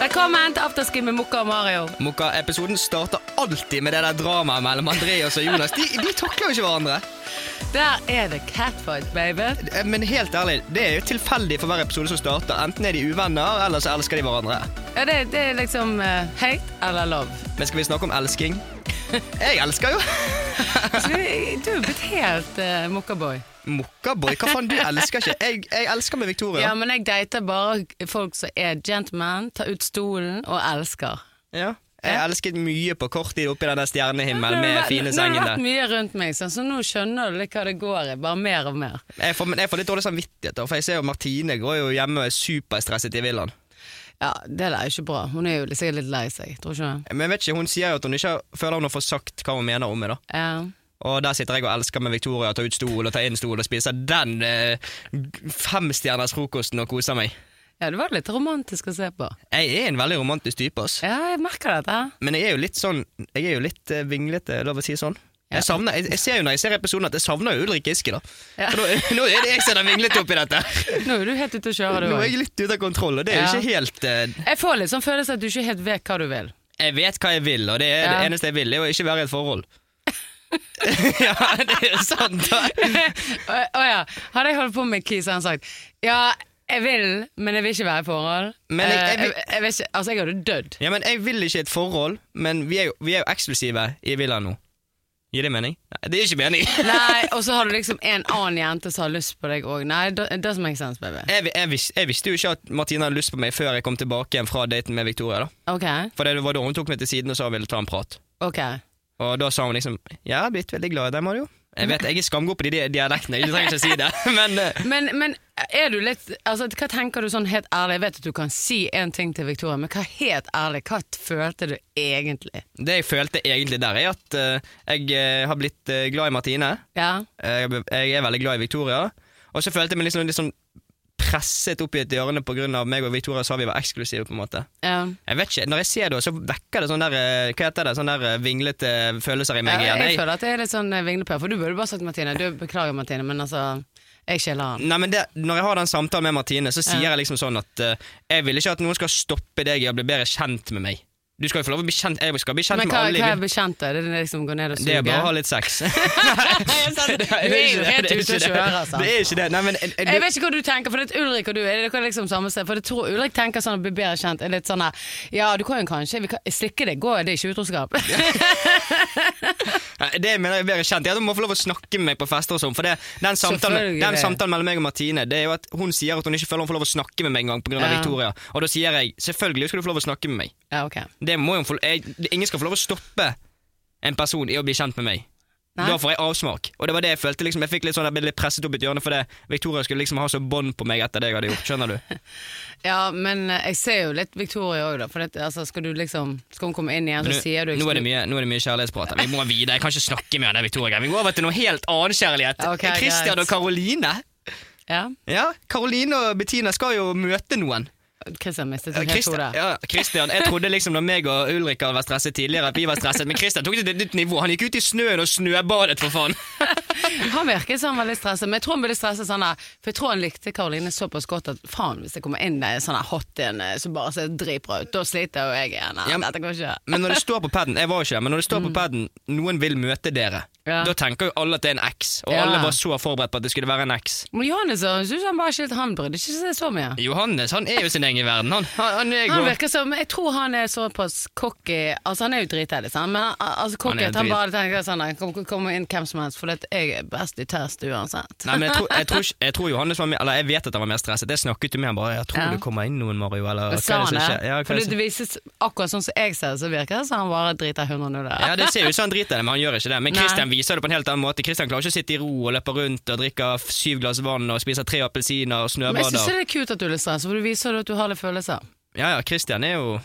Velkommen til afterski med Mokka og Mario. Mokka-episoden starter alltid med det der dramaet mellom Andreas og Jonas. De, de takler jo ikke hverandre. Der er det catfight, baby. Eh, Men helt ærlig, det er jo tilfeldig for hver episode som starter. Enten er de uvenner, eller så elsker de hverandre. Ja, det, det er liksom eh, hate eller love. Men skal vi snakke om elsking? Jeg elsker jo! Så vi- Altså, du er blitt helt uh, mokkaboy. Mokkaboy, hva faen, du elsker ikke? Jeg, jeg elsker med Ja. Victoria. men jeg dater bare folk som er gentlemen, tar ut stolen og elsker. Ja. Jeg elsket mye på kort tid oppi den der stjernehimmelen med fine Nå sengen har det vært der. mye rundt meg, sånn, så nå skjønner du litt hva det går i. Bare mer og mer. Jeg får, men jeg får litt dårlig samvittighet, da, for jeg ser jo Martine går jo hjemme og er superstresset i villaen. Ja, det der er jo ikke bra. Hun er jo litt- sikkert litt lei seg, tror ikke du? Men jeg vet ikke, hun sier jo at hun ikke føler hun har fått sagt hva hun mener om meg, da. Ja. Og der sitter jeg og elsker med Victoria, tar ut stol og tar inn stol og spiser den eh, femstjerners frokosten og koser meg. ja, det var litt romantisk å se på. Jeg er en veldig romantisk type, ass. Ja, jeg merker dette. Men jeg er jo litt sånn Jeg er jo litt eh, vinglete, er det lov å si sånn. Jeg, savner, jeg, jeg ser jo når jeg ser episoden at jeg savner jo Ulrik Giske, da. Ja. For nå, nå er det jeg som er den vinglete oppi dette. Nå er du helt ute å kjøre, du Nå er òg. jeg litt ute av kontroll, og det er jo Ja. ikke helt eh, Jeg får litt sånn følelse at du ikke helt vet hva du vil. Jeg vet hva jeg vil, og det, er Ja. det eneste jeg vil, er å ikke være i et forhold. ja, det er jo sant, da. Å å ja. Hadde jeg holdt på med Keys, hadde han sagt ja, jeg vil, men jeg vil ikke være i forhold. Men jeg- jeg Eh, vil- jeg, jeg vil ikke, altså, jeg hadde dødd. Ja, men jeg vil ikke et forhold, men vi er jo, vi er jo eksklusive i villaen nå. Gir det mening? Nei, det gir ikke mening. Nei, Og så har du liksom en annen jente som har lyst på deg òg. Nei, det det som make sense, baby. Jeg, vi- jeg, vis, jeg visste jo ikke at Martina hadde lyst på meg før jeg kom tilbake igjen fra daten med Victoria. da. Ok, For det var da hun tok meg til siden og sa hun ville ta en prat. ok. Og da sa hun liksom 'Jeg er blitt veldig glad i deg, Mario'. Jeg vet, jeg er skamgod på de de- dialektene, du trenger ikke å si det. Men eh, Men, men er du litt altså, Hva tenker du sånn helt ærlig? Jeg vet at du kan si én ting til Victoria, men hva helt ærlig, hva følte du egentlig? det jeg følte egentlig der, er at eh, jeg eh, har blitt eh, glad i Martine. Ja? Jeg jeg er veldig glad i Victoria. Og så følte jeg meg liksom, litt sånn presset opp i et hjørne pga. meg og Victoria sa vi var eksklusive. på en måte. ja. Jeg vet ikke, Når jeg ser det, så vekker det sånn der eh, Hva heter det, sånn der eh, vinglete følelser i meg Jeg, igjen. jeg Jeg, føler at det er litt sånn eh, vinglepær, for du burde bare sagt Martine. Du, beklager, Martine, men altså Jeg skjeller han. nei, men det, Når jeg har den samtalen med Martine, så sier Ja. jeg liksom sånn at eh, jeg vil ikke at noen skal stoppe deg i å bli bedre kjent med meg. Du skal jo få lov å bli kjent Jeg skal bli kjent Men med hva, alle. i hva er vil- bekjent av? Det er liksom gå ned og suge? det er bare å ha litt sex. Nei, det Du er jo helt ikke det, det ute er å ikke det. kjøre, altså. Det er ikke det. Nei, men, eh, du- Jeg vet ikke hva du tenker, for det er Ulrik og du er dere liksom samme sted. For jeg tror Ulrik tenker sånn å bli bedre kjent. Er litt sånn her Ja, du kan jo kanskje vi kan, slikke deg, går det er ikke utroskap? Nei, Det mener jeg er bedre kjent. Jeg må få lov å snakke med meg på fester og sånn. For det, den, samtalen, Selvfølgelig. den samtalen mellom meg og Martine, det er jo at hun sier at hun ikke føler hun får lov å snakke med meg engang pga. av Ja. Victoria. Og da sier jeg selvfølgelig skal du få lov å snakke med meg. ja, ok. Det må jo hun få, jeg, ingen skal få lov å stoppe en person i å bli kjent med meg. Nei. Da får jeg avsmak. Og det var det jeg følte. liksom Jeg fikk litt sånn, jeg ble litt presset opp i et hjørne fordi Victoria skulle liksom ha så bånd på meg etter det jeg hadde gjort. Skjønner du? Ja, men eh, jeg ser jo litt Victoria òg, da. For det, altså, skal du liksom Skal hun komme inn igjen, så sier du nå, nå, er det mye, nå er det mye kjærlighetsprat. her. Vi må videre. Jeg kan ikke snakke med henne, Victoria. Vi går over til noe helt annen kjærlighet. Ok, greit. Christian og Karoline. Ja. Ja, Karoline og Bettina skal jo møte noen. Christian mistet Ja, sin helt hode. Eh, Christian, ja, Christian, jeg trodde liksom da meg og Ulrik hadde vært stresset tidligere, at vi var stresset, men Christian tok det til et nytt nivå. Han gikk ut i snøen og snøbadet, for faen. Han virket som han var litt stresset, men jeg tror han ble litt stresset sånn der, for jeg tror han likte Karoline såpass godt at faen, hvis jeg kommer inn der sånn der hot igjen, eh, som bare ser dritbra ut, da sliter jo jeg igjen. Ja, Ja, men- Dette går ikke. Men når det står på paden, jeg var jo ikke der, men når det står på paden, noen vil møte dere, Mm. Ja. da tenker jo alle at det er en eks, og Ja. alle var så forberedt på at det skulle være en eks. Men Johannes han synes han bare skilt, han brydde ikke seg så mye. Johannes, han er jo sin egen verden, han. Han, han er Han god. virker som, Jeg tror han er såpass cocky Altså Han er jo dritheldig, sant? men han- altså, cocky er at han drit. bare tenker sånn nei, Kom, kom inn hvem som helst, for det, jeg er best i test uansett. Nei, men jeg tror, jeg, tror, ikke- jeg tror Johannes var mer, eller jeg vet at han var mer stresset. Jeg snakket jo med han bare, jeg tror Ja. det kommer inn noen, Mario, eller hva er det Sa som han skjer? det? Ja, hva er det for det, som- det vises, akkurat sånn som jeg ser det, så virker det som han bare driter 100 der. Ja, det ser jo ut som han driter i det, men han gjør ikke det. Men Nei. Christian viser det på en helt annen måte. Christian klarer ikke å sitte i ro og løpe rundt og drikke f- syv glass vann og spise tre appelsiner og Men jeg snøbader. syns det er cute at du er litt stressa, for du viser jo at du har litt følelser. Ja, ja, Christian er jo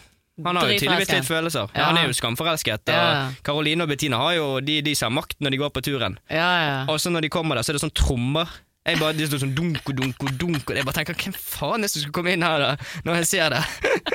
han har jo tydeligvis Dritforelsket. litt følelser. Ja. Ja. Han er jo skamforelsket. Ja. Og Karoline og Bettina har jo de, de som har makt når de går på turen. Ja, ja. Og så når de kommer der, så er det sånn trommer. Jeg bare, det sto sånn dunko, dunko, dunko. Jeg bare tenker, hvem faen er det som skulle komme inn her da, når jeg ser det?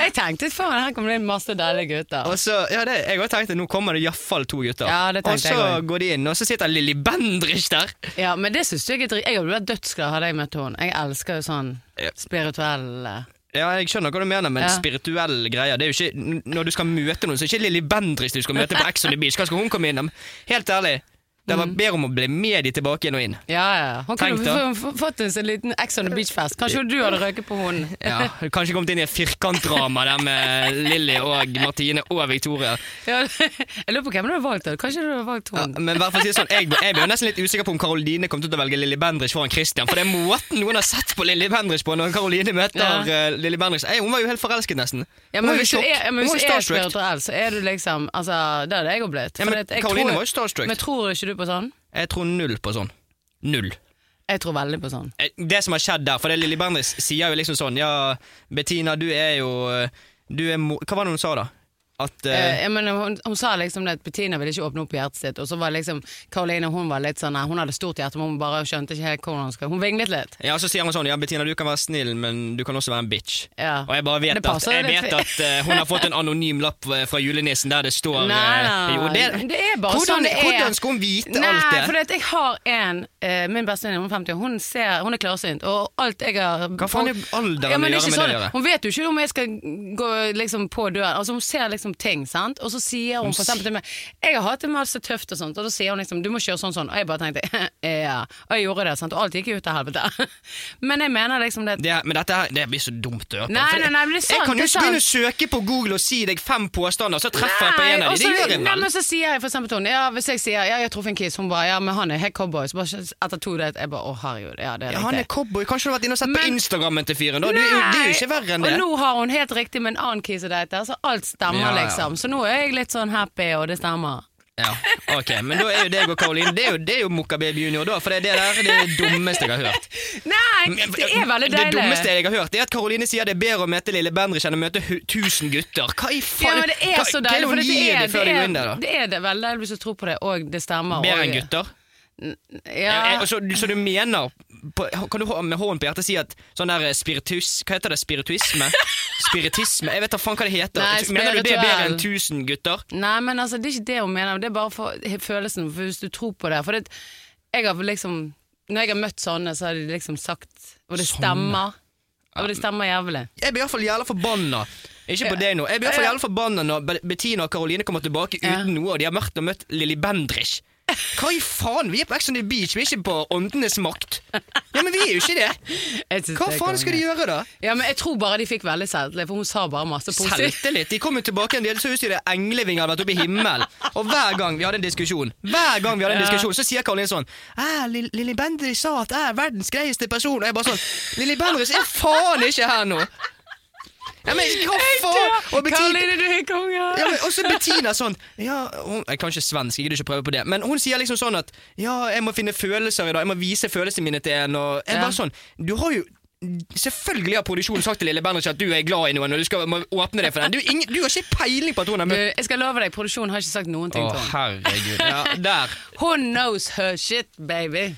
Jeg tenkte faen, her kommer det inn masse deilige gutter. Og så, ja, det, jeg også tenkte, nå kommer det i hvert fall to gutter. Ja, det og tenkte så jeg også. går de inn, og så sitter Lilly Bendriss der. Ja, men det synes jeg er drit. Jeg hadde vært dødsglad hadde jeg møtt henne. Jeg elsker jo sånn spirituelle Ja, jeg skjønner hva du mener, men Ja. spirituelle greier, det er jo ikke, n- når du skal møte noen, så er det ikke Lilly Bendriss du skal møte på Ex on the Beach. Hva skal hun komme innom? Helt ærlig, det Mm. var bedre om å bli med de tilbake igjen og inn. Ja, ja. Hun Tenk kunne da. f- f- fått en sånn liten Ex on the Beach-fest. Kanskje du hadde røket på hunden. Ja, kanskje kommet inn i et firkantdrama der med Lilly og Martine og Victoria. Ja, jeg lurer på hvem du hadde valgt. da. Kanskje du hadde valgt Ja, hunden. men i hvert fall si det sånn, jeg, jeg ble jo nesten litt usikker på om Karoline kom til å velge Lilly Bendriss foran Christian. For det er måten noen har sett på Lilly Bendriss på når Karoline møter Ja. eh, Lilly Bendriss. Eh, Hun var jo helt forelsket, nesten. Ja, Hun men var jo i hvis du sjokk. er, ja, men Hun var hvis jo du er starstruck. spirituell, så er du liksom Altså, det hadde jeg jo blitt. Ja, men Fordi at jeg Karoline tror- var jo starstruck. Men tror ikke du på sånn? Jeg tror null på sånn. Null. Jeg tror veldig på sånn. Eh, Det som har skjedd der, for det Lilly Bendriss sier jo liksom sånn Ja, Bettina, du er jo eh, Du er mo... Hva var det hun sa, da? At eh, Eh, jeg mener, hun, hun sa liksom det at Bettina ville ikke åpne opp hjertet sitt, og så var liksom Karoline hun var litt sånn nei, Hun hadde stort hjerte, men hun bare skjønte ikke helt hvordan hun skulle Hun vinglet litt. Ja, så sier hun sånn Ja, Bettina, du kan være snill, men du kan også være en bitch. Ja. Og jeg bare vet Det passer at, jeg litt vet fi- at eh, hun har fått en anonym lapp eh, fra julenissen der det står eh, Nei, nei, jo, nei, det er bare hvordan, sånn det er. Hvordan skal hun vite Nei, alt det? for at jeg har en eh, Min bestevenninne, hun er 50, hun, ser, hun er klarsynt, og alt jeg har Hva faen er alderen men å gjøre ikke sånn- med det å gjøre? Hun vet jo ikke om jeg skal gå liksom, på døren. Altså, hun ser liksom ting, sant, og så sier hun for eksempel til meg Jeg har hatt det masse tøft og sånt, og da sier hun liksom du må kjøre sånn sånn, og jeg bare tenkte ja, og jeg gjorde det, sant, og alt gikk jo ut til helvete. men jeg mener liksom det at- Det, men dette her, det blir så dumt å høre på. Nei, for det- nei, nei, men det er sant, jeg det kan jo er ikke begynne å søke på Google og si deg fem påstander, så treffer jeg på Nei, en av og dem. Det så- gjør jeg Nei, vel. men så sier jeg for eksempel til henne ja, Hvis jeg sier ja, jeg traff en kiss, hun bare ja, men han er helt cowboy. Så bare etter to date, jeg bare å herregud, ja det er Ja, riktig. han er cowboy. Kanskje du har vært inne og sett på Men- Instagrammen til fyren? da? Du, er jo- det er jo ikke verre enn det. Og nå har hun helt riktig med en annen kis å date, så alt stemmer, Ja, ja. liksom. Så nå er jeg litt sånn happy, og det stemmer. Ja, ok, Men da er jo deg og Karoline Det er jo, det er jo Mokka Baby Junior, da. For det det der er det dummeste jeg har hørt. Nei, det er veldig deilig. Det dummeste jeg har hørt, er at Karoline sier det er bedre å møte Lille Bendriss enn å møte hu- tusen gutter. Hva i faen? ja, men det er Hva- så hva er deilig, for det det hun gir er, deg før du det går inn der, er, da? det er det veldig deilig hvis du tror på det, og det stemmer. Bedre og- enn gutter? Ja, Ja. og så, du- så du mener på, Kan du hå- med hånden på hjertet si at sånn der eh, spiritus Hva heter det? Spirituisme? Spiritisme? Jeg vet da faen hva det heter. Nei, mener du det er bedre enn spirituell. tusen gutter? Nei, men altså, det er ikke det hun mener, det er bare for he- følelsen, for hvis du tror på det. For det, jeg har liksom Når jeg har møtt sånne, så har de liksom sagt Og det Sånne? stemmer. Og det stemmer jævlig. Jeg blir iallfall jævla forbanna. Ikke på deg nå. Jeg blir iallfall jævla forbanna når Be- Bettina og Karoline kommer tilbake Ja. uten noe, og de har møtt og møtt Lilly Bendriss. Hva i faen? Vi er på Ex on the Beach, vi er ikke på Åndenes makt. Ja, men vi er jo ikke det. Jeg synes Hva det er faen skal de konge. gjøre da? Ja, men Jeg tror bare de fikk veldig selvtillit, for hun sa bare masse positivt. Selvtillit. De kom jo tilbake igjen, de hadde så ut som de hadde englevinger hadde vært oppe i himmelen. Og hver gang vi hadde en diskusjon, Hver gang vi hadde en Ja. diskusjon så sier Karoline sånn «Æ, Lill- Lilly Bendriss sa at jeg er verdens greieste person, og jeg bare sånn Lilly Bendriss er faen ikke her nå! Ja, men hva faen? Og Bettina Karoline, du er konge! ja, men også Bettina sånn ja, hun, Jeg kan ikke svensk, jeg gidder ikke prøve på det. Men hun sier liksom sånn at Ja, jeg må finne følelser i dag, jeg må vise følelsene mine til en. Og jeg Ja. bare sånn Du har jo Selvfølgelig har produksjonen sagt til Lille Bendriss at du er glad i noen, og du skal må åpne deg for den. Du, ingen, du har ikke peiling på at hun har Du, møtt jeg skal love deg, produksjonen har ikke sagt noen ting til henne. herregud. Ja, der. Hun knows her shit, baby.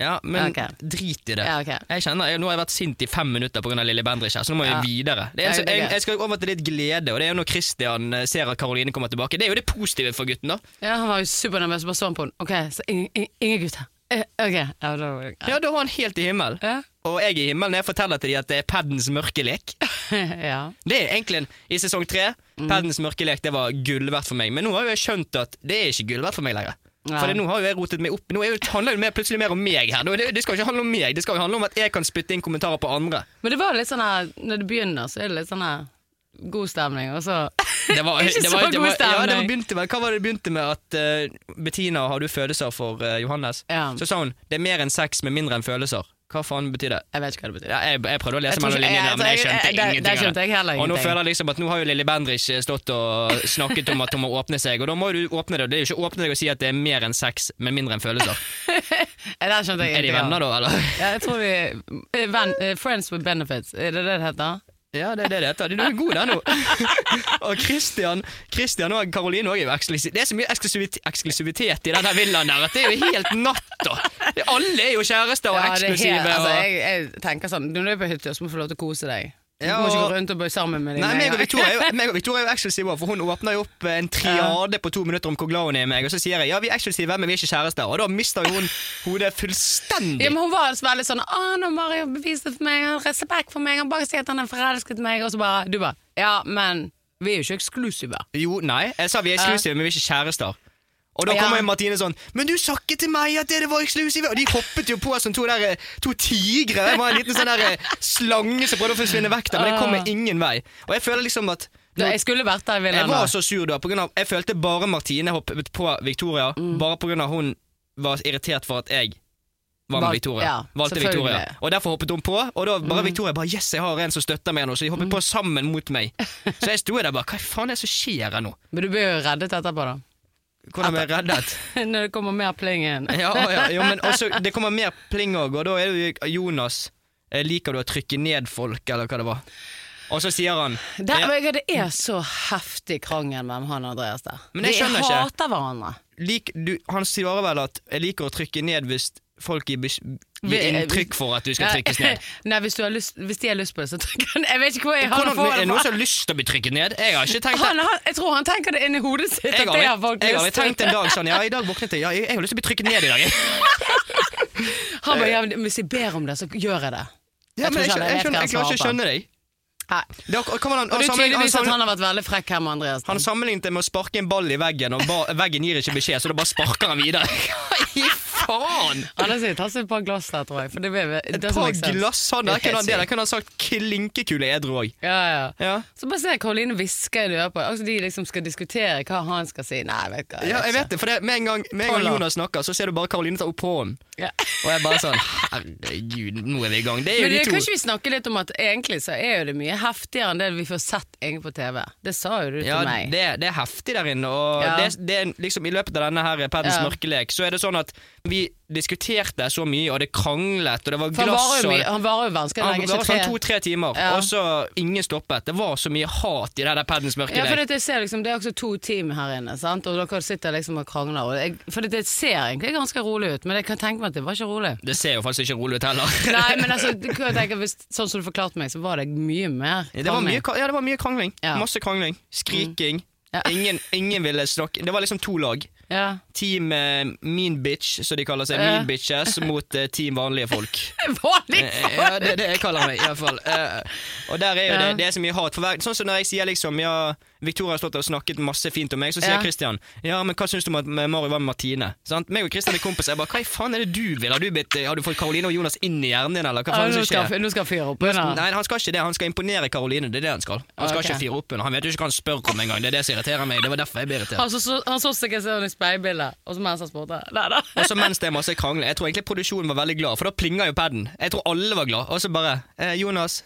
Ja, men Ok. drit i det. Ja, ok. Jeg kjenner, jeg, Nå har jeg vært sint i fem minutter pga. Lille Bendriss, her, så nå må vi Ja. videre. Det er, Ja, så, det er jeg, greit. jeg skal over til litt glede, og det er jo når Christian eh, ser at Karoline kommer tilbake. Det er jo det positive for gutten, da. Ja, Han var jo supernervøs, bare så han på henne. Ok, så ingen, ingen, ingen gutter. Eh, ok. Ja, da var det greit. Ja, da var han helt i himmelen. Ja. Og jeg er i himmelen når jeg forteller til de at det er paddens mørke lek. ja. Det er egentlig en, I sesong tre, Mm. paddens mørke lek, det var gull verdt for meg. Men nå har jo jeg skjønt at det er ikke gull verdt for meg lenger. Nei. For det- nå har jo jeg rotet meg opp Nå er jo, handler det mer, plutselig mer om meg her. Nå, det, det skal jo ikke handle om meg, det skal jo handle om at jeg kan spytte inn kommentarer på andre. Men det var litt sånn her Når det begynner, så er det litt sånn her god stemning, og så Det var, Ikke det var, så det god var, ja, det var stemning. begynte med, Hva var det det begynte med at eh, Bettina, har du følelser for eh, Johannes? Ja. Så sa hun det er mer enn sex med mindre enn følelser. Hva faen betyr det? Jeg vet ikke hva det betyr. Ja, jeg, jeg prøvde å lese Jeg tror mellom ikke- linjene, jeg- der, men jeg jeg- skjønte jeg- der- ingenting. der av det. skjønte jeg heller Og nå ingenting. føler jeg liksom at nå har jo Lilly Bendriss stått og snakket om at hun må åpne seg, og da må du åpne det. og Det er jo ikke åpne deg å si at det er mer enn sex, men mindre enn følelser. Eh, Der skjønte jeg Er de ingenting av. venner da, eller? Ja, jeg tror vi eh, venn, eh, Friends with benefits, er det det det heter? Ja, det er det det heter. Du er god der nå. og Christian, Christian og Karoline også er jo eksklusiv. Det er så mye eksklusivitet, eksklusivitet i den der villaen der at det er jo helt natt, da. Alle er jo kjærester og Ja, det er helt- eksklusive. altså, og- jeg, jeg tenker sånn, når du er på hytta, så må du få lov til å kose deg. Du Ja, må ikke og- gå rundt og bøye sammen med dine Nei, meg og egne. Victoria er jo, meg og Victoria er jo eksklusive, også, for hun åpner jo opp en triade på to minutter om hvor glad hun er i meg, og så sier jeg ja, vi er eksklusive, men vi er ikke kjærester, og da mister jo hun hodet Ja, fullstendig. men Hun var altså veldig sånn 'Å, nå har Mario beviset for meg, han har respekt for meg, han bare sier at han har forelsket meg', og så bare Du bare 'Ja, men vi er jo ikke eksklusive'. Jo, nei, jeg sa vi er eksklusive, men vi er ikke kjærester. Og da Ja. kommer Martine sånn Men du sa ikke til meg at dere var eksklusive! Og de hoppet jo på som to, der, eh, to tigre. Det var en liten sånn der eh, slange som prøvde å forsvinne vekk der, men det kommer ingen vei. Og jeg føler liksom at Da, jeg skulle vært der, ville Jeg han var da. så sur da. På grunn av, jeg følte bare Martine hoppet på Victoria. Mm. Bare på grunn av hun var irritert for at jeg var med Valg- Victoria. ja, Valgte selvfølgelig. Mm. Victoria. Og derfor hoppet hun på. Og da bare Victoria bare Yes, jeg har en som støtter meg nå. Så de hoppet på sammen mot meg. Så jeg sto der bare Hva faen er det som skjer her nå? Men du blir jo reddet etterpå, da. Hvordan ble jeg reddet? Når det kommer mer pling inn. Ja, ja, jo, men også, det kommer mer pling òg, og da er det jo Jonas eh, Liker du å trykke ned folk, eller hva det var? Og så sier han Der, ja, men Det er så heftig krangel mellom han og Andreas der. Men jeg de skjønner ikke. hater hverandre. lik, du, Han svarer vel at 'jeg liker å trykke ned hvis folk gir, bes- Vi- gir inntrykk for at du skal Ja. trykkes ned'. Nei, hvis, du har lyst, hvis de har lyst på det, så trykker han Jeg vet ikke hvor jeg har det Hvordan, er det noen fra. som har lyst til å bli trykket ned? Jeg har ikke tenkt det. Han, han, jeg tror han tenker det inni hodet sitt. Jeg at har, det aldri- har folk jeg har lyst aldri til. tenkt en dag sånn Ja, i dag våknet jeg. Ja, jeg, jeg har lyst til å bli trykket ned i dag. jeg.» Han bare, ja, men hvis jeg ber om det, så gjør jeg det. Ja, men jeg, tror skjønner, jeg, skjønner, jeg klarer ikke å skjønne deg. Nei. Da kommer han, Og han, det er sammenlignet, han, tydeligvis at sammenlignet, han har vært veldig frekk her med Andreas. han sammenlignet det med å sparke en ball i veggen, og ba, veggen gir ikke beskjed, så da bare sparker han videre. Hva i faen? Anders sier ta seg et par glass der, tror jeg. For det blir, det Et par glass han der kunne han, det, der kunne han sagt klinkekule edru òg. Ja, ja. Ja. Så bare se Karoline hvisker i det øret på Altså, de liksom skal diskutere hva han skal si. Nei, vet du hva. Ja, jeg vet det, for det, med en gang, med en gang Tolv år. Jonas snakker, så ser du bare Karoline ta opp hånden. Ja. Og jeg bare sånn Herregud, nå er vi i gang. Det Men er jo det, de to. kan ikke vi snakke litt om at egentlig så er jo det mye heftigere enn det vi får sett egentlig på TV. Det sa jo du Ja, til meg. det, det er heftig der inne. Og Ja. det, det, er liksom, I løpet av denne her Paddens Ja. mørkelek så er det sånn at vi diskuterte så mye, og det kranglet, og det var For han glass varer jo, og mye- han varer jo vanskelig han lenge. var ikke sånn tre- to-tre timer, Ja. og så ingen stoppet. Det var så mye hat i det der Paddens Ja, for mørkelek. det, jeg ser liksom, det er også to team her inne, sant? og dere sitter liksom og krangler. Og jeg, for det, det ser egentlig ganske rolig ut, men jeg kan tenke meg at det var ikke rolig. det, ser jo faktisk ikke rolig ut heller. Nei, men altså, du kan jo tenke, hvis, sånn som du forklarte meg, så var det mye mer Det var mye, ka- ja, det var mye krangling. Ja. Mm. Masse krangling. Skriking. Ja. Ingen, ingen ville snakke Det var liksom to lag. Ja. Team eh, Mean Bitch, som de kaller seg. Ja. Mean Bitches mot eh, Team Vanlige Folk. Vanlig Eh, folk! Ja, det er det jeg kaller meg, iallfall. Eh, Og der er jo det, Ja. det er så mye hat. For hver, sånn som når jeg sier liksom ja, Victoria har stått og snakket masse fint om meg, så sier Ja. Christian ja, men hva syns du om at Mario var med Martine? Sant? Meg og Christian er kompiser. Jeg bare hva i faen er det du vil? Har du, blitt, eh, har du fått Karoline og Jonas inn i hjernen din, eller hva Ja, faen er nå, det som skal, skjer? nå skal fyret opp under. Nei, han skal ikke det. Han skal imponere Karoline. Det er det han skal. Han skal Ok. ikke fire opp under. Han vet jo ikke hva han spør om engang. Det er det som irriterer meg. Det var derfor jeg ble irritert. Han så, så, han så seg ikke sånn i speilbildet, og så mens han spurte. Nei da. Og så mens det er masse krangler Jeg tror egentlig produksjonen var veldig glad, for da plinga jo paden. Jeg tror alle var glad. Og så bare eh, Jonas,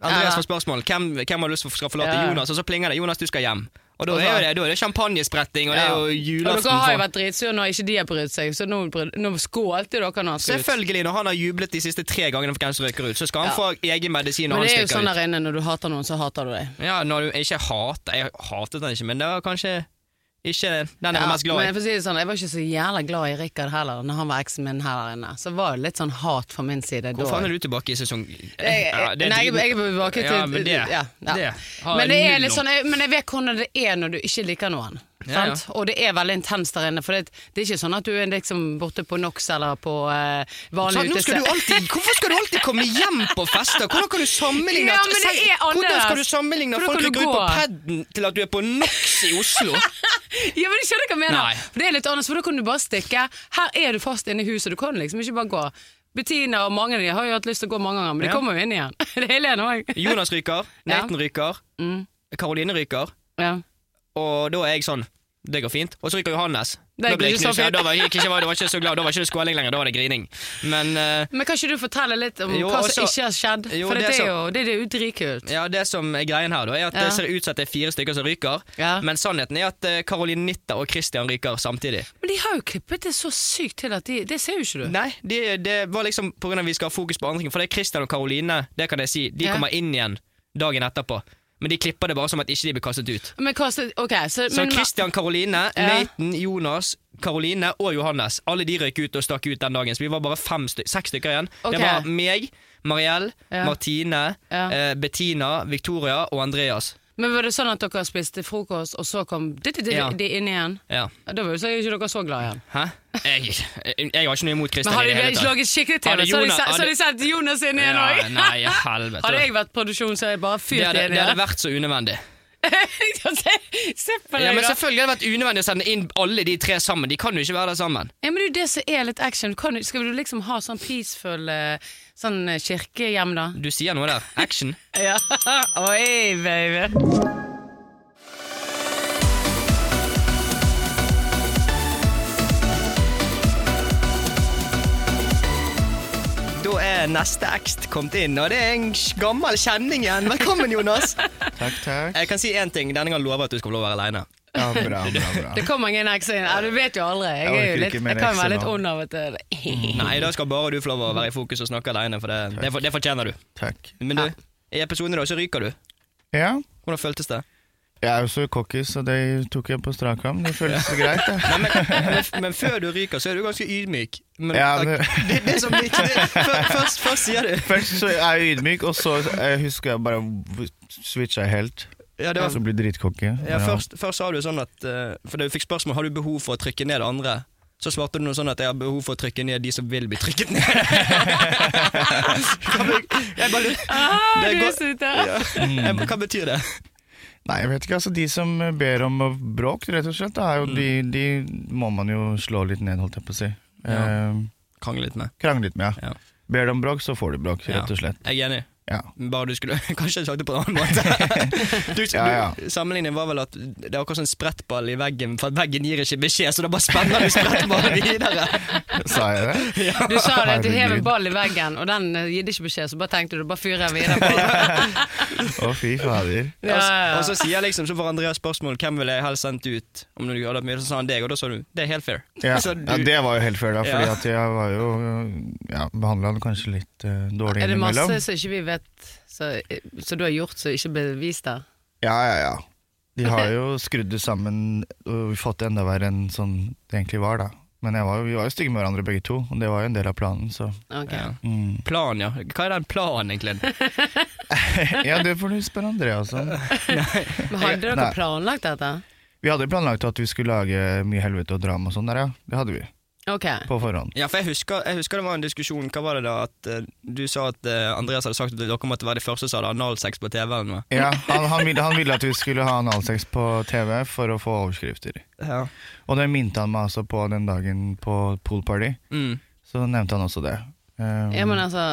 Ja. Andreas får spørsmål. Hvem, hvem har lyst til å skal forlate Ja, ja. Jonas? Og så plinger det. Jonas, du skal hjem. Og da Og så- er jo det, da er det champagnespretting, og det er jo Og dere julaften har jo for vært dritsure når ikke de har brydd seg, så nå, bryd- nå skålte dere når han skulle ut. Selvfølgelig, når han har jublet de siste tre gangene for hvem som røyker ut, så skal han Ja. få egen medisin Men når det han er jo sånn stikker ut. der inne, når du hater noen, så hater du deg. Ja, når du ikke hater Jeg hatet han ikke, men det var kanskje ikke den jeg var mest glad i. Men jeg, får si det sånn, jeg var ikke så jævla glad i Rikard heller, når han var eksen min her inne. Så var det litt sånn hat fra min side Hvor faen da. er du tilbake i sesong Jeg, Ja, det er nei, jeg, driten. jeg er tilbake til Ja, men det, ja, ja. det har men, det jeg er null litt om. sånn, jeg, men jeg vet hvordan det er når du ikke liker noen. Ja, ja. sant? Og det er veldig intenst der inne. For det, det er ikke sånn at du er liksom borte på NOx eller på eh, Sa- vanlig Sånn, nå skal utested. du alltid, hvorfor skal du alltid komme hjem på fester? Hvordan kan du sammenligne Ja, men det er Se- Hvordan annerledes. skal du sammenligne Hvordan kan folk som du går ut på gå? padden til at du er på NOx i Oslo? Ja, men jeg skjønner hva jeg mener. Nei. For det er litt annerledes, for da kan du bare stikke. Her er du fast inne i huset, du kan liksom ikke bare gå. Bettina og mange av de har jo hatt lyst til å gå mange ganger, men de Ja. kommer jo inn igjen. Det er Helene òg. Jonas ryker, Ja. Mm. Nathan ryker, Karoline ryker, Ja. og da er jeg sånn det går fint. Og så ryker Johannes. Det Da går ble jeg ikke så knust. Ja, fint. Da var jeg ikke, da var jeg ikke så glad. Da var ikke det skåling lenger, da var det grining. Men eh, Men kan ikke du fortelle litt om Jo, hva også- som ikke har skjedd? Jo, for det, det er som- jo det, det er jo dritkult. ja, det som er greien her, da, er at Ja. det ser ut som at det er fire stykker som ryker. Ja. Men sannheten er at eh, Karoline Nitta og Christian ryker samtidig. Men de har jo klippet det så sykt til at de Det ser jo ikke du. Nei, det, det var liksom på grunn av vi skal ha fokus på andre ting. For det er Christian og Karoline, det kan jeg si, de Ja. kommer inn igjen dagen etterpå. Men de klipper det bare som at ikke de blir kastet ut. Men hva så- Ok, så, Så men, Christian, Karoline, Ja. Nathan, Jonas, Karoline og Johannes. Alle de røyk ut og stakk ut den dagen, så vi var bare fem sty seks stykker igjen. Ok. Det var meg, Marielle, Ja. Martine, Ja. eh, Bettina, Victoria og Andreas. Men var det sånn at dere spiste frokost, og så kom de, de, de, Ja. de inn igjen? Ja. Ja, Da var jo så- ikke dere så glad igjen. Hæ? Jeg, jeg, jeg har ikke noe imot Christian Men hadde i det de hele ikke tatt. laget skikkelig TV, Hadde så hadde de Jonas- se- så hadde de sendt Jonas inn igjen òg. Ja, nei, helvete. hadde jeg vært produksjon, så hadde jeg bare det fyrt hadde, inn det hadde igjen. vært så unødvendig. Ja, se- Se på Ja, deg, men da. Selvfølgelig hadde det vært unødvendig å sende inn alle de tre sammen. De kan jo ikke være der sammen. Ja, men det er jo det som er litt action. Kan, du- skal du liksom ha sånn peaceful eh, sånn eh, kirkehjem, da? Du sier noe der. Action. Ja. Oi, baby. Da er neste ekst kommet inn, og det er en gammel kjenning igjen. Velkommen, Jonas. Takk, takk. Jeg kan si én ting. Denne gangen lover jeg at du skal få lov å være aleine. Ja, bra, bra, bra. Det kommer ingen ekser inn. Ja, du vet jo aldri. Jeg, er Jeg jo orker litt, ikke mer jeg kan ekser være litt nå. Mm. ond av og til. Nei, da skal bare du få lov å være i fokus og snakke aleine, for det, det, for- det fortjener du. Takk. Men du, i episoden i dag så ryker du. Ja, Hvordan føltes det? jeg er jo så cocky, så det tok jeg på strak arm. Det føles greit, det. Nei, men, men, men før du ryker, så er du ganske ydmyk. Men, Ja, det, det- det, er som ikke det, før- først, først sier du Først så er jeg ydmyk, og så eh, husker jeg bare v- switcha helt. Ja, det var Så blir dritcocky. Ja, først, først sa du sånn at eh, For du fikk spørsmål Har du behov for å trykke ned andre Så svarte du noe sånn at Jeg har behov for å trykke ned de som vil bli trykket ned Hva be- Jeg bare lurer- Ah, Det er du er godt- søt, ja. ja. Mm. Jeg bare, Hva betyr det? Nei, jeg vet ikke. altså De som ber om bråk, rett og slett, da, Mm. er jo, de, de må man jo slå litt ned, holdt jeg på å si. Ja. Eh, Krangle litt med Krangle litt med, Ja. ja. Ber de om bråk, så får de bråk, Ja. rett og slett. Jeg er enig Ja. Bare du skulle Kanskje jeg sagt det på en annen måte du, Ja, ja. du, Sammenligningen var vel at Det er akkurat sånn sprettball i veggen For at veggen gir ikke beskjed Så da bare spenner du sprettballen videre Sa jeg det? Du sa det at du hev en Herregud. ball i veggen, og den eh, gir det ikke beskjed, så bare tenkte du bare fyrer jeg videre på. den. Å, fy fader. Ja, Og s- ja, ja. Og så sier jeg liksom, så får Andreas spørsmål Hvem ville jeg helst sendt ut Om du hadde hatt mye, så sa han deg Og da sa du, det er helt fair Ja, Så du- ja, det var jo helt før, da, fordi Ja. at jeg var jo ja, behandla han kanskje litt eh, dårlig Er det innimellom. masse som ikke vi vet, så- eh, som du har gjort som ikke ble vist der? Ja, ja, ja. De har jo skrudd det sammen og fått det enda verre enn sånn det egentlig var, da. Men jeg var, jo- vi var jo stygge med hverandre begge to, og det var jo en del av planen, så Ok. Ja. mm. Plan, ja. Hva er den planen, egentlig? Ja, det får du spørre Andreas om. Men hadde dere Nei. planlagt dette? Vi hadde planlagt at vi skulle lage mye helvete og drama og sånn der, ja. Det hadde vi. Ok. På forhånd. Ja, for jeg husker, jeg husker det var en diskusjon. Hva var det da? At eh, Du sa at eh, Andreas hadde sagt at dere måtte være de første som hadde analsex på TV. eller noe. Ja, han, han, ville, han ville at vi skulle ha analsex på TV for å få overskrifter. Ja. Og det minte han meg altså på den dagen på poolparty. Mm. Så nevnte han også det. Um, Ja, men altså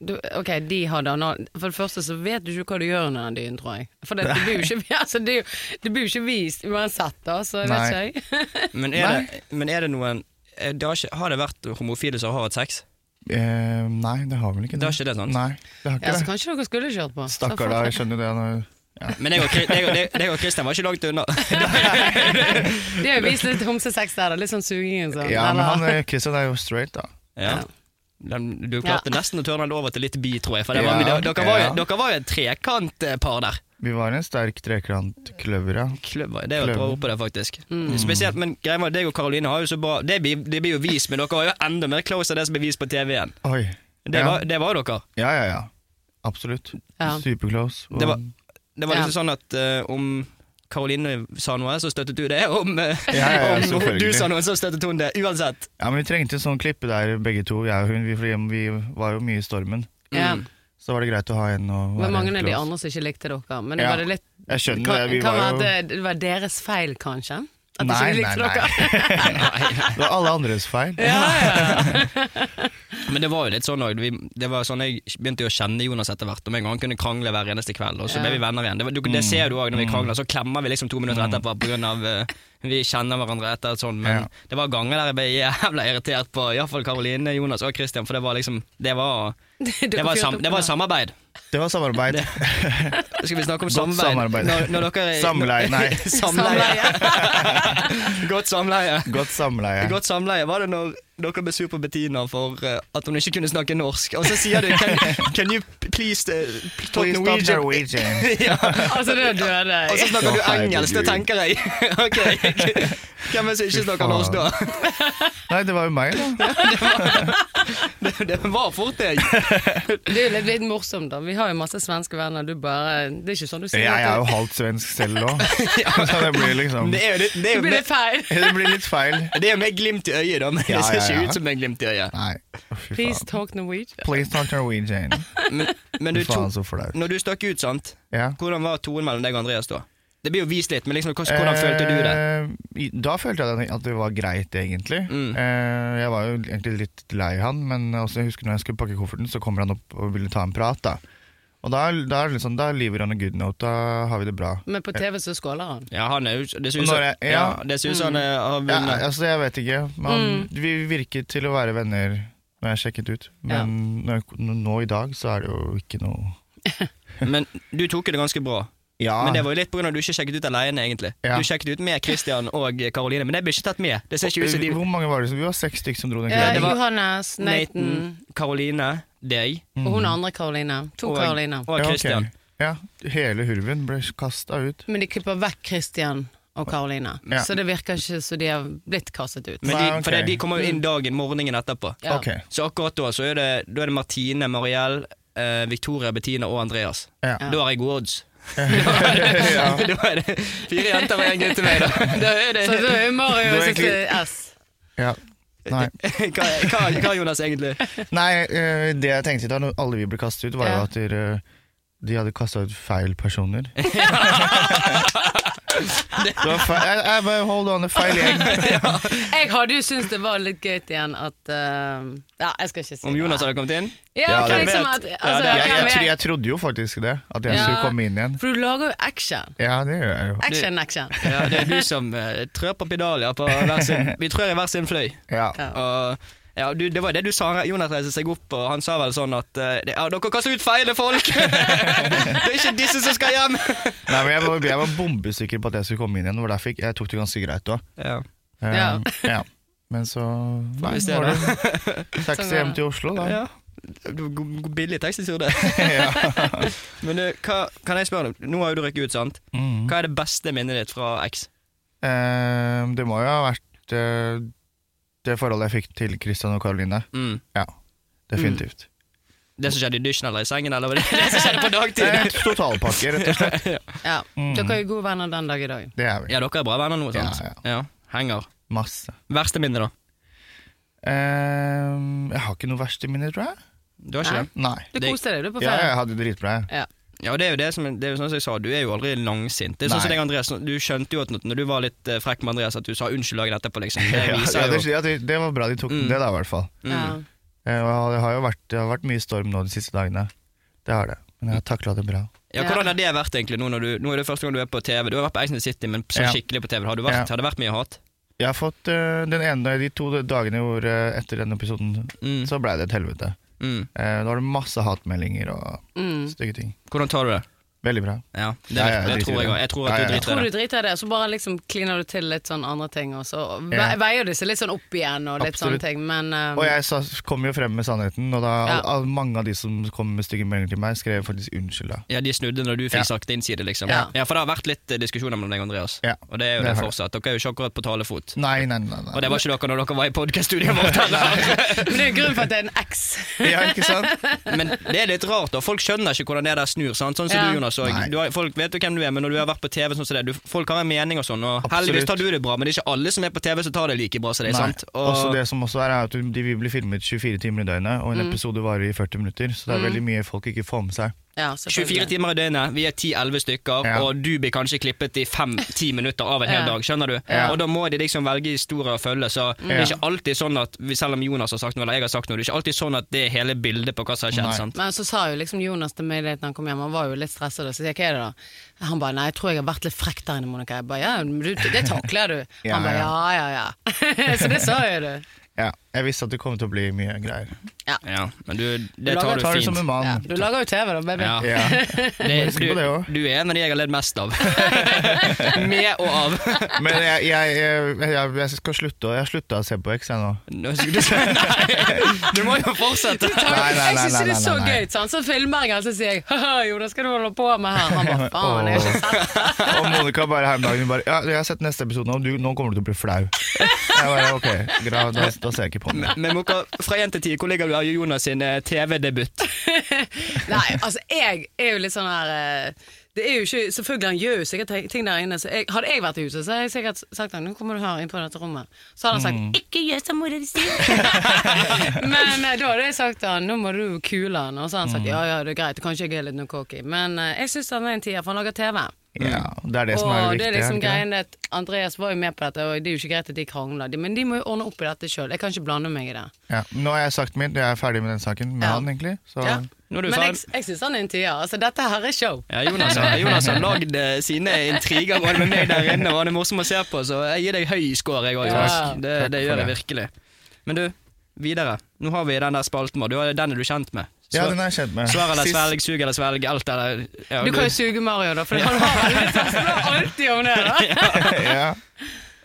du, ok, de hadde anal... For det første så vet du ikke hva du gjør under den dynen, tror jeg. For det, det, blir jo ikke, altså, det, er jo- det blir jo ikke vist uansett, da, så jeg vet Nei. ikke jeg. Men, er det, men er det noen eh, det har, ikke, har det vært homofile som har hatt sex? eh, nei, det har vel ikke det. Det har ikke det, sant? Nei, det Ja, har så ikke det. kanskje dere skulle kjørt på. Så Stakkar, da. Jeg skjønner det. Når, Men jeg og, Chris- jeg, og- jeg og Christian var ikke langt unna. faen, Det er jo vist litt homsesex der, da. Litt sånn suging og sånn. ja, men eller? han eh, Christian er jo straight, da. Ja. Den, du klarte nesten å tørne den over til litt bi, tror jeg. For det var, Ja. dere, dere var jo, Ja. dere var jo et trekantpar der. Vi var en sterk trekantkløver, ja. Kløver, det er jo et Kløver. bra ord på det, faktisk. Mm. Spesielt, men greia med deg og Karoline har jo så bra Det blir, det blir jo vis, men dere har jo enda mer close av det som blir vist på TV-en. Oi. Det, ja. var- det var jo dere. ja, ja, ja. Absolutt. Ja. Superclose. Og, Det var- Det var Ja. liksom sånn at eh, om Karoline sa noe, så støttet du det. Om, eh, Ja, ja, ja, om selvfølgelig. du sa noe, så støttet hun det. Uansett. ja, men vi trengte en sånn klippe der, begge to, jeg og hun. Vi, fordi vi var jo mye i stormen. ja. Mm. Så var det greit å ha en å Det var være mange av de close. andre som ikke likte dere, men det Ja. var det litt Jeg skjønner Kan, det. Vi kan var være jo at det, det var deres feil, kanskje? At Nei, ikke vi nei, likte nei. dere? Det var alle andres feil. Men det var jo litt sånn og vi, Det var sånn jeg begynte jo å kjenne Jonas etter hvert. Om en gang han kunne krangle hver eneste kveld, og så ble Ja. vi venner igjen. Det, var, du, det ser du òg Mm. når vi krangler, så klemmer vi liksom to minutter etterpå pga. Uh, vi kjenner hverandre etter et sånt. Men Ja. det var ganger der jeg ble jævla irritert på iallfall Karoline, Jonas og Christian, for det var liksom Det var Det var, sam det var samarbeid. Det var samarbeid. Skal vi snakke om Godt samarbeid? samarbeid. Når, når dere, Samleie, nei. samleie. Godt samleie. Godt samleie. Godt samleie var det når dere ble sur på Bettina for eh, at hun ikke kunne snakke norsk. Og så sier du can, can you please eh, talk Please stop Norwegian? Norwegian. ja. Altså, det døde Og så jeg. snakker du Å, herregud. engelsk, det tenker jeg. ok, Hvem er det som ikke snakker faen. norsk da? Nei, det var jo meg, da. Det, det var fort deg. Det er jo litt, litt morsomt, da. Vi har jo masse svenske venner. Du bare Det er ikke sånn du sier. Jeg er jo at halvt svensk selv òg, så det blir liksom Det Det er jo litt- det du- er jo blir det med, feil. blir litt feil. det er jo med glimt i øyet, da, men det Ja, ser ja, ikke ja. ut som med glimt i øyet. Nei, å, fy Please faen. talk Norwegian. Please talk Norwegian. Men, men du, Fy to, faen, så flaut. når du stakk ut, sant? Ja. Hvordan var tonen mellom deg og Andreas da? Det blir jo vist litt, men liksom, hvordan, hvordan følte du det? Eh, i- Da følte jeg at det var greit, egentlig. Mm. Eh, Jeg var jo egentlig litt lei han, men også, jeg husker når jeg skulle pakke kofferten, så kommer han opp og ville ta en prat. da. Og da, er- da, er det liksom, da lever han a good note, da har vi det bra. Men på TV så skåler han. Ja, han er jo Det ser ut Og som når ja. jeg- ja. det ser ut som han eh, har Ja, vunnet. altså, jeg vet ikke. Mm. Man, Vi virket til å være venner når jeg sjekket ut, men når, jeg- nå i dag så er det jo ikke noe Men du tok jo det ganske bra. Ja, Men det var jo litt på grunn av at du ikke sjekket ut alene, egentlig. Ja. Du sjekket ut med Christian og Karoline, men det ble ikke tatt med. Det ser ikke ut som de Hvor mange var det? som- Vi var seks stykker som dro den Ja, greia. det var- Eh, Johannes, Nathan Karoline, deg og Mm. hun andre Karoline. To og, Karoline. og Ja, ok. Christian. Ja, hele hurven ble kasta ut. Men de klipper vekk Christian og Karoline, Ja. så det virker ikke som de har blitt kastet ut. Men de, Nei, ok. For det, de kommer jo inn dagen, morgenen etterpå. Ja. Ok, Så akkurat da så er det, da er det Martine, Marielle, eh, Victoria, Bettina og Andreas. ja. Da har jeg gode odds. da er det fire jenter og en gutt til meg, da. da er det, Så det er jo Mario Det var som egentlig- sitter S. ja. Nei. hva, hva, hva, Jonas, egentlig? Nei, eh, det jeg tenkte da når alle vi ble kastet ut, var Ja. jo at dere, de hadde kasta ut feil personer. det var feil, jeg, jeg bare Hold on, det er feil gjeng. Jeg hadde jo syntes det var litt gøy igjen at eh, Ja, jeg skal ikke si Om det. Jonas hadde kommet inn? Ja, Ja, hvem det- som at, altså, Ja, det- hvem Jeg, jeg, er- tro- jeg trodde jo faktisk det, at jeg Ja. skulle komme inn igjen. For du lager jo action. Ja, det gjør jeg jo. Action, action. Ja, det er du som eh, trør på pedalier på hver sin Vi trør i hver sin fløy. Ja. Ja. Og ja, du, det var det du sa. Jonas reiste seg opp, og han sa vel sånn at eh, det- ja, Dere kaster ut feil folk! det er ikke disse som skal hjem! Nei, men jeg var, jeg var bombesikker på at jeg skulle komme inn igjen. og derfor jeg, jeg tok det ganske greit da. Ja. Eh, Ja. ja. Men så nei, vi se var det taxi hjem til Oslo, da. ja. Det var god- god Billig taxitur, det. Men du, hva, kan jeg spørre deg, nå har jo du røkket ut, sant? Mm. Hva er det beste minnet ditt fra X? Eh, det må jo ha vært eh, det forholdet jeg fikk til Christian og Caroline. Mm. Ja, definitivt. Det som skjedde i dusjen eller i sengen, eller var det det som skjedde på Det dagtid? er et totalpakke, rett og slett. Ja. Mm. Dere er jo gode venner den dag i dag. Det er vi. Ja, dere er bra venner nå, Ja, sant? ja. Henger. Masse. Verste minne, da? Ehm, jeg har ikke noe verste minne, tror jeg. Du har ikke Nei. det? Nei. Du Det- koste deg, du, på Ja, ferie. jeg hadde det dritbra. jeg. Ja, og det er jo det som, det er jo sånn som jeg sa, du er jo aldri langsint. Det er Nei. sånn som deg, Andreas, Du skjønte jo at når du var litt eh, frekk med Andreas, at du sa unnskyld dagen etterpå, liksom. Det Ja, viser det, jo ja, det, det var bra de tok Mm. det, da, i hvert fall. Ja. Eh, og det har jo vært, det har vært mye storm nå de siste dagene. Det har det. Men jeg har takla det bra. Ja, Hvordan har det vært egentlig nå når du Nå er det første gang du er på TV? Du har vært på Exit City, men sånn Ja. skikkelig på TV. Har, du vært, Ja. har det vært mye hat? Jeg har fått eh, den ene, De to dagene hvor, eh, etter denne episoden Mm. så blei det et helvete. Mm. Eh, da var det masse hatmeldinger og Mm. stygge ting. Hvordan tar du det? Veldig bra. Ja, det, Ja, ja, jeg det driter i tror jeg det. òg. Jeg tror at Ja, ja, du ja. driter Tror i du det. driter i det, så bare liksom kliner du til litt sånn andre ting, og så ve- Ja. veier det seg litt sånn opp igjen og litt sånne Absolutt. ting, men um, Og jeg sa, kom jo frem med sannheten, og da, Ja. al, al, mange av de som kom med stygge meldinger til meg, skrev faktisk unnskyld. da. Ja, De snudde når du fikk sagt din side, liksom. Ja. Ja. For det har vært litt eh, diskusjoner mellom deg og Andreas, Ja. og det er jo det, Det har det. fortsatt. Dere er jo ikke akkurat på talefot. Nei, nei, nei. nei. Og det var ikke dere når dere var i podkaststudioet vårt Men heller. det er jo grunnen for at det er en X. Ja, ikke sant? Men det er litt rart, da. Folk skjønner ikke hvordan det der snur. Sant? Sånn som Ja. du, Jonas. Og, Nei. du har, folk vet jo hvem du er, men når du har vært på TV, sånn som det, du, folk har en mening og sånn. Og Absolutt. heldigvis tar du det bra, men det er ikke alle som er på TV som tar det like bra som deg. Nei. sant? Og, Også det som også er, er at de vil bli filmet 24 timer i døgnet, og en episode varer i 40 minutter, så det er veldig mye folk ikke får med seg. Ja, 24 timer i døgnet, vi er 10-11 stykker, Ja. og du blir kanskje klippet i 5-10 minutter av en hel Ja. dag. Skjønner du? Ja. Mm. Og da må de liksom velge historier å følge. Så det Ja. er ikke alltid sånn at vi- selv om Jonas har sagt noe, eller jeg har sagt noe, det er ikke alltid sånn at det er hele bildet på hva som har skjedd. Nei. sant? Men så sa jo liksom Jonas til meg litt når han kom hjem, han var jo litt stresset, og så sier jeg hva er det da? Han bare nei, jeg tror jeg har vært litt frekk der inne, Monica. Jeg bare ja, men du, det takler du. Ja, Han bare ja, ja, ja. så det sa jo du. Ja, jeg visste at det kom til å bli mye greier. Ja, men du, det Jeg tar du tar det som fint. en Ja. mann. Du lager jo TV, da, baby. Ja. Ja. Det, husker du, på det også. du er en av de jeg har ledd mest av. Med og av. Men jeg, jeg, jeg, jeg, jeg skal slutte å- Jeg har slutta å se på X jeg nå. Nå skulle du si nei! Du må jo fortsette! Tar- Nei, nei, jeg nei, syns nei, det er så nei, nei. gøy. sant? Så filmer jeg han, så sier jeg «Haha, jo, da skal du holde på med her. Han bare faen, jeg har ikke sett det». Og Monica bare her om dagen hun bare Ja, jeg har sett neste episode nå, du, nå kommer du til å bli flau. Jeg bare, ok, gra, da, da ser jeg ikke på den. Men Moka, fra 1 til 10, hvor ligger du av Jonas sin eh, TV-debut? Nei, altså, jeg er jo litt sånn her eh, det er jo ikke, Selvfølgelig, han gjør jo sikkert te- ting der inne. Så jeg, hadde jeg vært i huset, så hadde jeg sikkert sagt til han, nå kommer du her inn på dette rommet. Så hadde han sagt Mm. 'ikke gjør som mora di sier'. men eh, da hadde jeg sagt til han 'nå må du kule han', og så hadde han Mm. sagt 'ja ja, det er greit, kanskje jeg er litt noe cocky', men eh, jeg syns han er en tier, for han lager TV. Ja, det er det som er Og det er det viktige. er liksom det ikke det? greien at Andreas var jo med på dette, og det er jo ikke greit at de krangler, De- men de må jo ordne opp i dette sjøl. Jeg kan ikke blande meg i det. Ja, nå har jeg sagt mitt, jeg er ferdig med den saken med Ja. han, egentlig. Så Ja. Nå er du Men jeg, ferdig. jeg syns han er en tier. Altså, dette her er show. Ja, Jonas, har- Jonas har lagd eh, sine intriger både med meg der inne, og han er morsom å se på, så jeg gir deg høy score, jeg òg. Ja. Det, det Takk for gjør jeg det. virkelig. Men du, videre. Nå har vi den der spalten vår. Du har- Den er du kjent med. ja, den er jeg kjent med. Svar eller Sist- svelg, sug eller svelg, alt eller ja, Du kan jo suge Mario, da, for han har veldig sånn så det er alltid om det. da ja.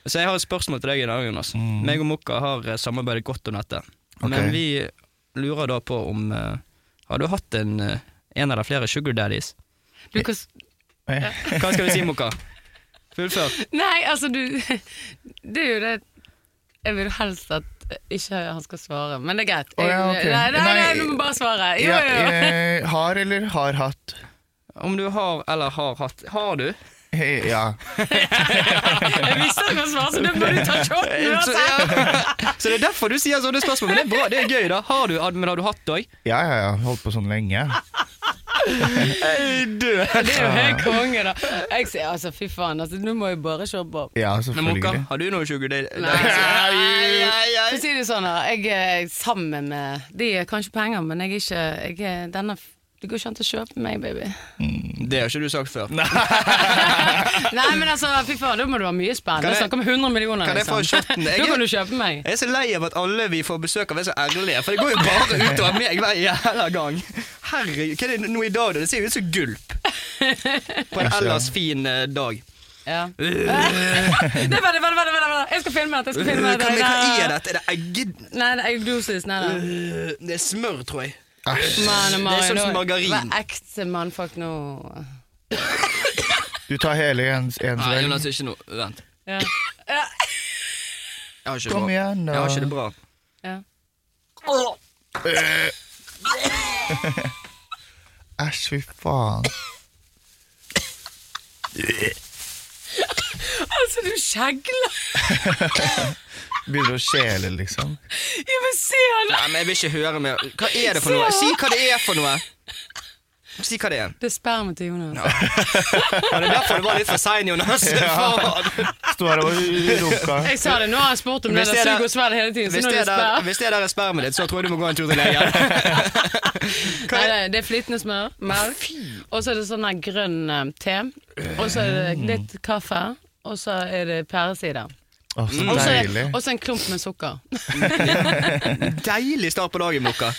Så jeg har et spørsmål til deg i dag, Jonas. Meg og Mokka har eh, samarbeidet godt om dette. Mm. Ok. Men vi lurer da på om eh, Har du hatt en, eh, en eller flere sugar daddies? Du kan, s- Nei. Hva skal du si, Mokka? Fullfør. nei, altså, du Det er jo det Jeg vil helst at ikke han skal svare, men det er greit. Å, ja, ok. Jeg- nei, nei, nei, Nei, du må bare svare. Jo, Ja, jo. eh, har eller har hatt? Om du har eller har hatt Har du? Hei, Ja. Jeg visste han skulle svare, så da må du ta shoten Så, uansett. ja. så det er derfor du sier sånne spørsmål. Men det er bra, det er gøy, da. Har du, men har du hatt òg? ja, ja, ja. Holdt på sånn lenge. Ah. Det er jo helt konge, da. Jeg sier altså, fy faen, altså, nå må jeg bare se på. Ja, Men Mokka, selvfølgelig. har du noe sugar daddy? Nei, For å si det sånn, da, jeg er sammen med De er kanskje penger, men jeg er ikke jeg er, denne, f- Det går ikke an til å kjøpe meg, baby. Det har ikke du sagt før. Nei, men altså, fy faen, da må du ha mye spenn. Kan Det er jeg- snakk om 100 millioner, liksom. kan jeg få kjøtten? Da Jeg er- kan du kjøpe meg. Jeg er så lei av at alle vi får besøk av er så ærlige, for det går jo bare utover meg hver jævla gang. Herregud, hva er det nå i dag, da? Det ser jo ut som gulp. På en ellers fin eh, dag. Ja. Nei, vent, vent, vent, vent, vent, vent. Jeg skal filme dette. jeg skal Kan filme vi, dette. hva er dette? Er det egg...? Nei, det er eggdosis. Nei, nei. Øh, Det er smør, tror jeg. Æsj. Man, Det er sånn som margarin. Vær ekte mannfolk nå. Du tar hele en, en Nei, svelg. Ah, Jonas, ikke noe. Vent. Ja. Jeg har ikke det Kom bra. Jeg igjen, da. har ikke det bra. Ja. Æsj, fy faen. Altså, du skjegler! Begynner å skjele, liksom. Ja, men se han! Nei, men jeg vil ikke høre mer. Hva er det for noe? Si hva det er for noe. Si hva det er. Det er spermen til Jonas. Ja, det er derfor du var litt for sein, Jonas. Faen. Sto her og runka. Jeg sa det, nå har jeg spurt om det Hvis der det er sug der- og svelg hele tiden, så Hvis nå er det det der, sperr. hvis det der er spermen ditt, så tror jeg du må gå en tur til legen. Nei, nei, det er flytende smør, melk, og så er det sånn her grønn eh, te, og så er Mm. det litt kaffe, og så er det pæresider. Å, så Mm. Og så deilig. og så en klump med sukker. Deilig start på dagen, Mokka.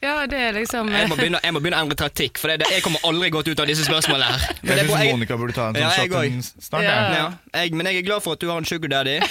Ja, det er liksom Jeg må begynne, jeg må begynne å endre taktikk, for det, det, jeg kommer aldri godt ut av disse spørsmålene her. Men det Jeg er bra, syns jeg- Monica burde ta en Ja, sånn jeg shot en- snart. jeg. Ja. ja, jeg, men jeg er glad for at du har en sugar daddy. og Jeg,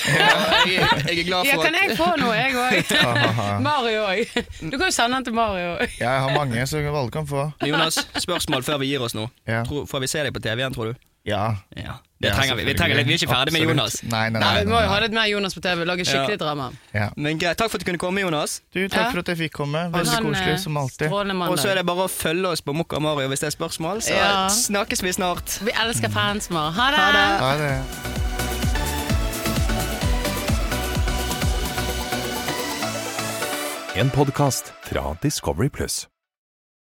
jeg er glad Ja, for kan at jeg få noe, jeg òg? Ha, ha, ha. Mario òg. Du kan jo sende den til Mario òg. Jeg har mange som alle kan få. Jonas, spørsmål før vi gir oss nå. Ja. Tror, får vi se deg på TV igjen, tror du? Ja. Ja, det Ja, trenger vi. Vi selvfølgelig. trenger litt, vi er ikke ferdig med Absolutt. Jonas. Nei, nei, Nei, nei. vi må jo ha litt mer Jonas på TV, lage skikkelig Ja. drama. Ja. Men greit, Takk for at du kunne komme, Jonas. Du, Ja. takk for at jeg fikk komme. Ha Veldig en, eh, koselig som alltid. Strålende Og så er mandag. det bare å følge oss på Mokka og Mario hvis det er spørsmål. Så Ja. snakkes vi snart. Vi Mm. elsker fans våre. Ha Ha det! det. Ha det. En podkast fra Discovery Pluss.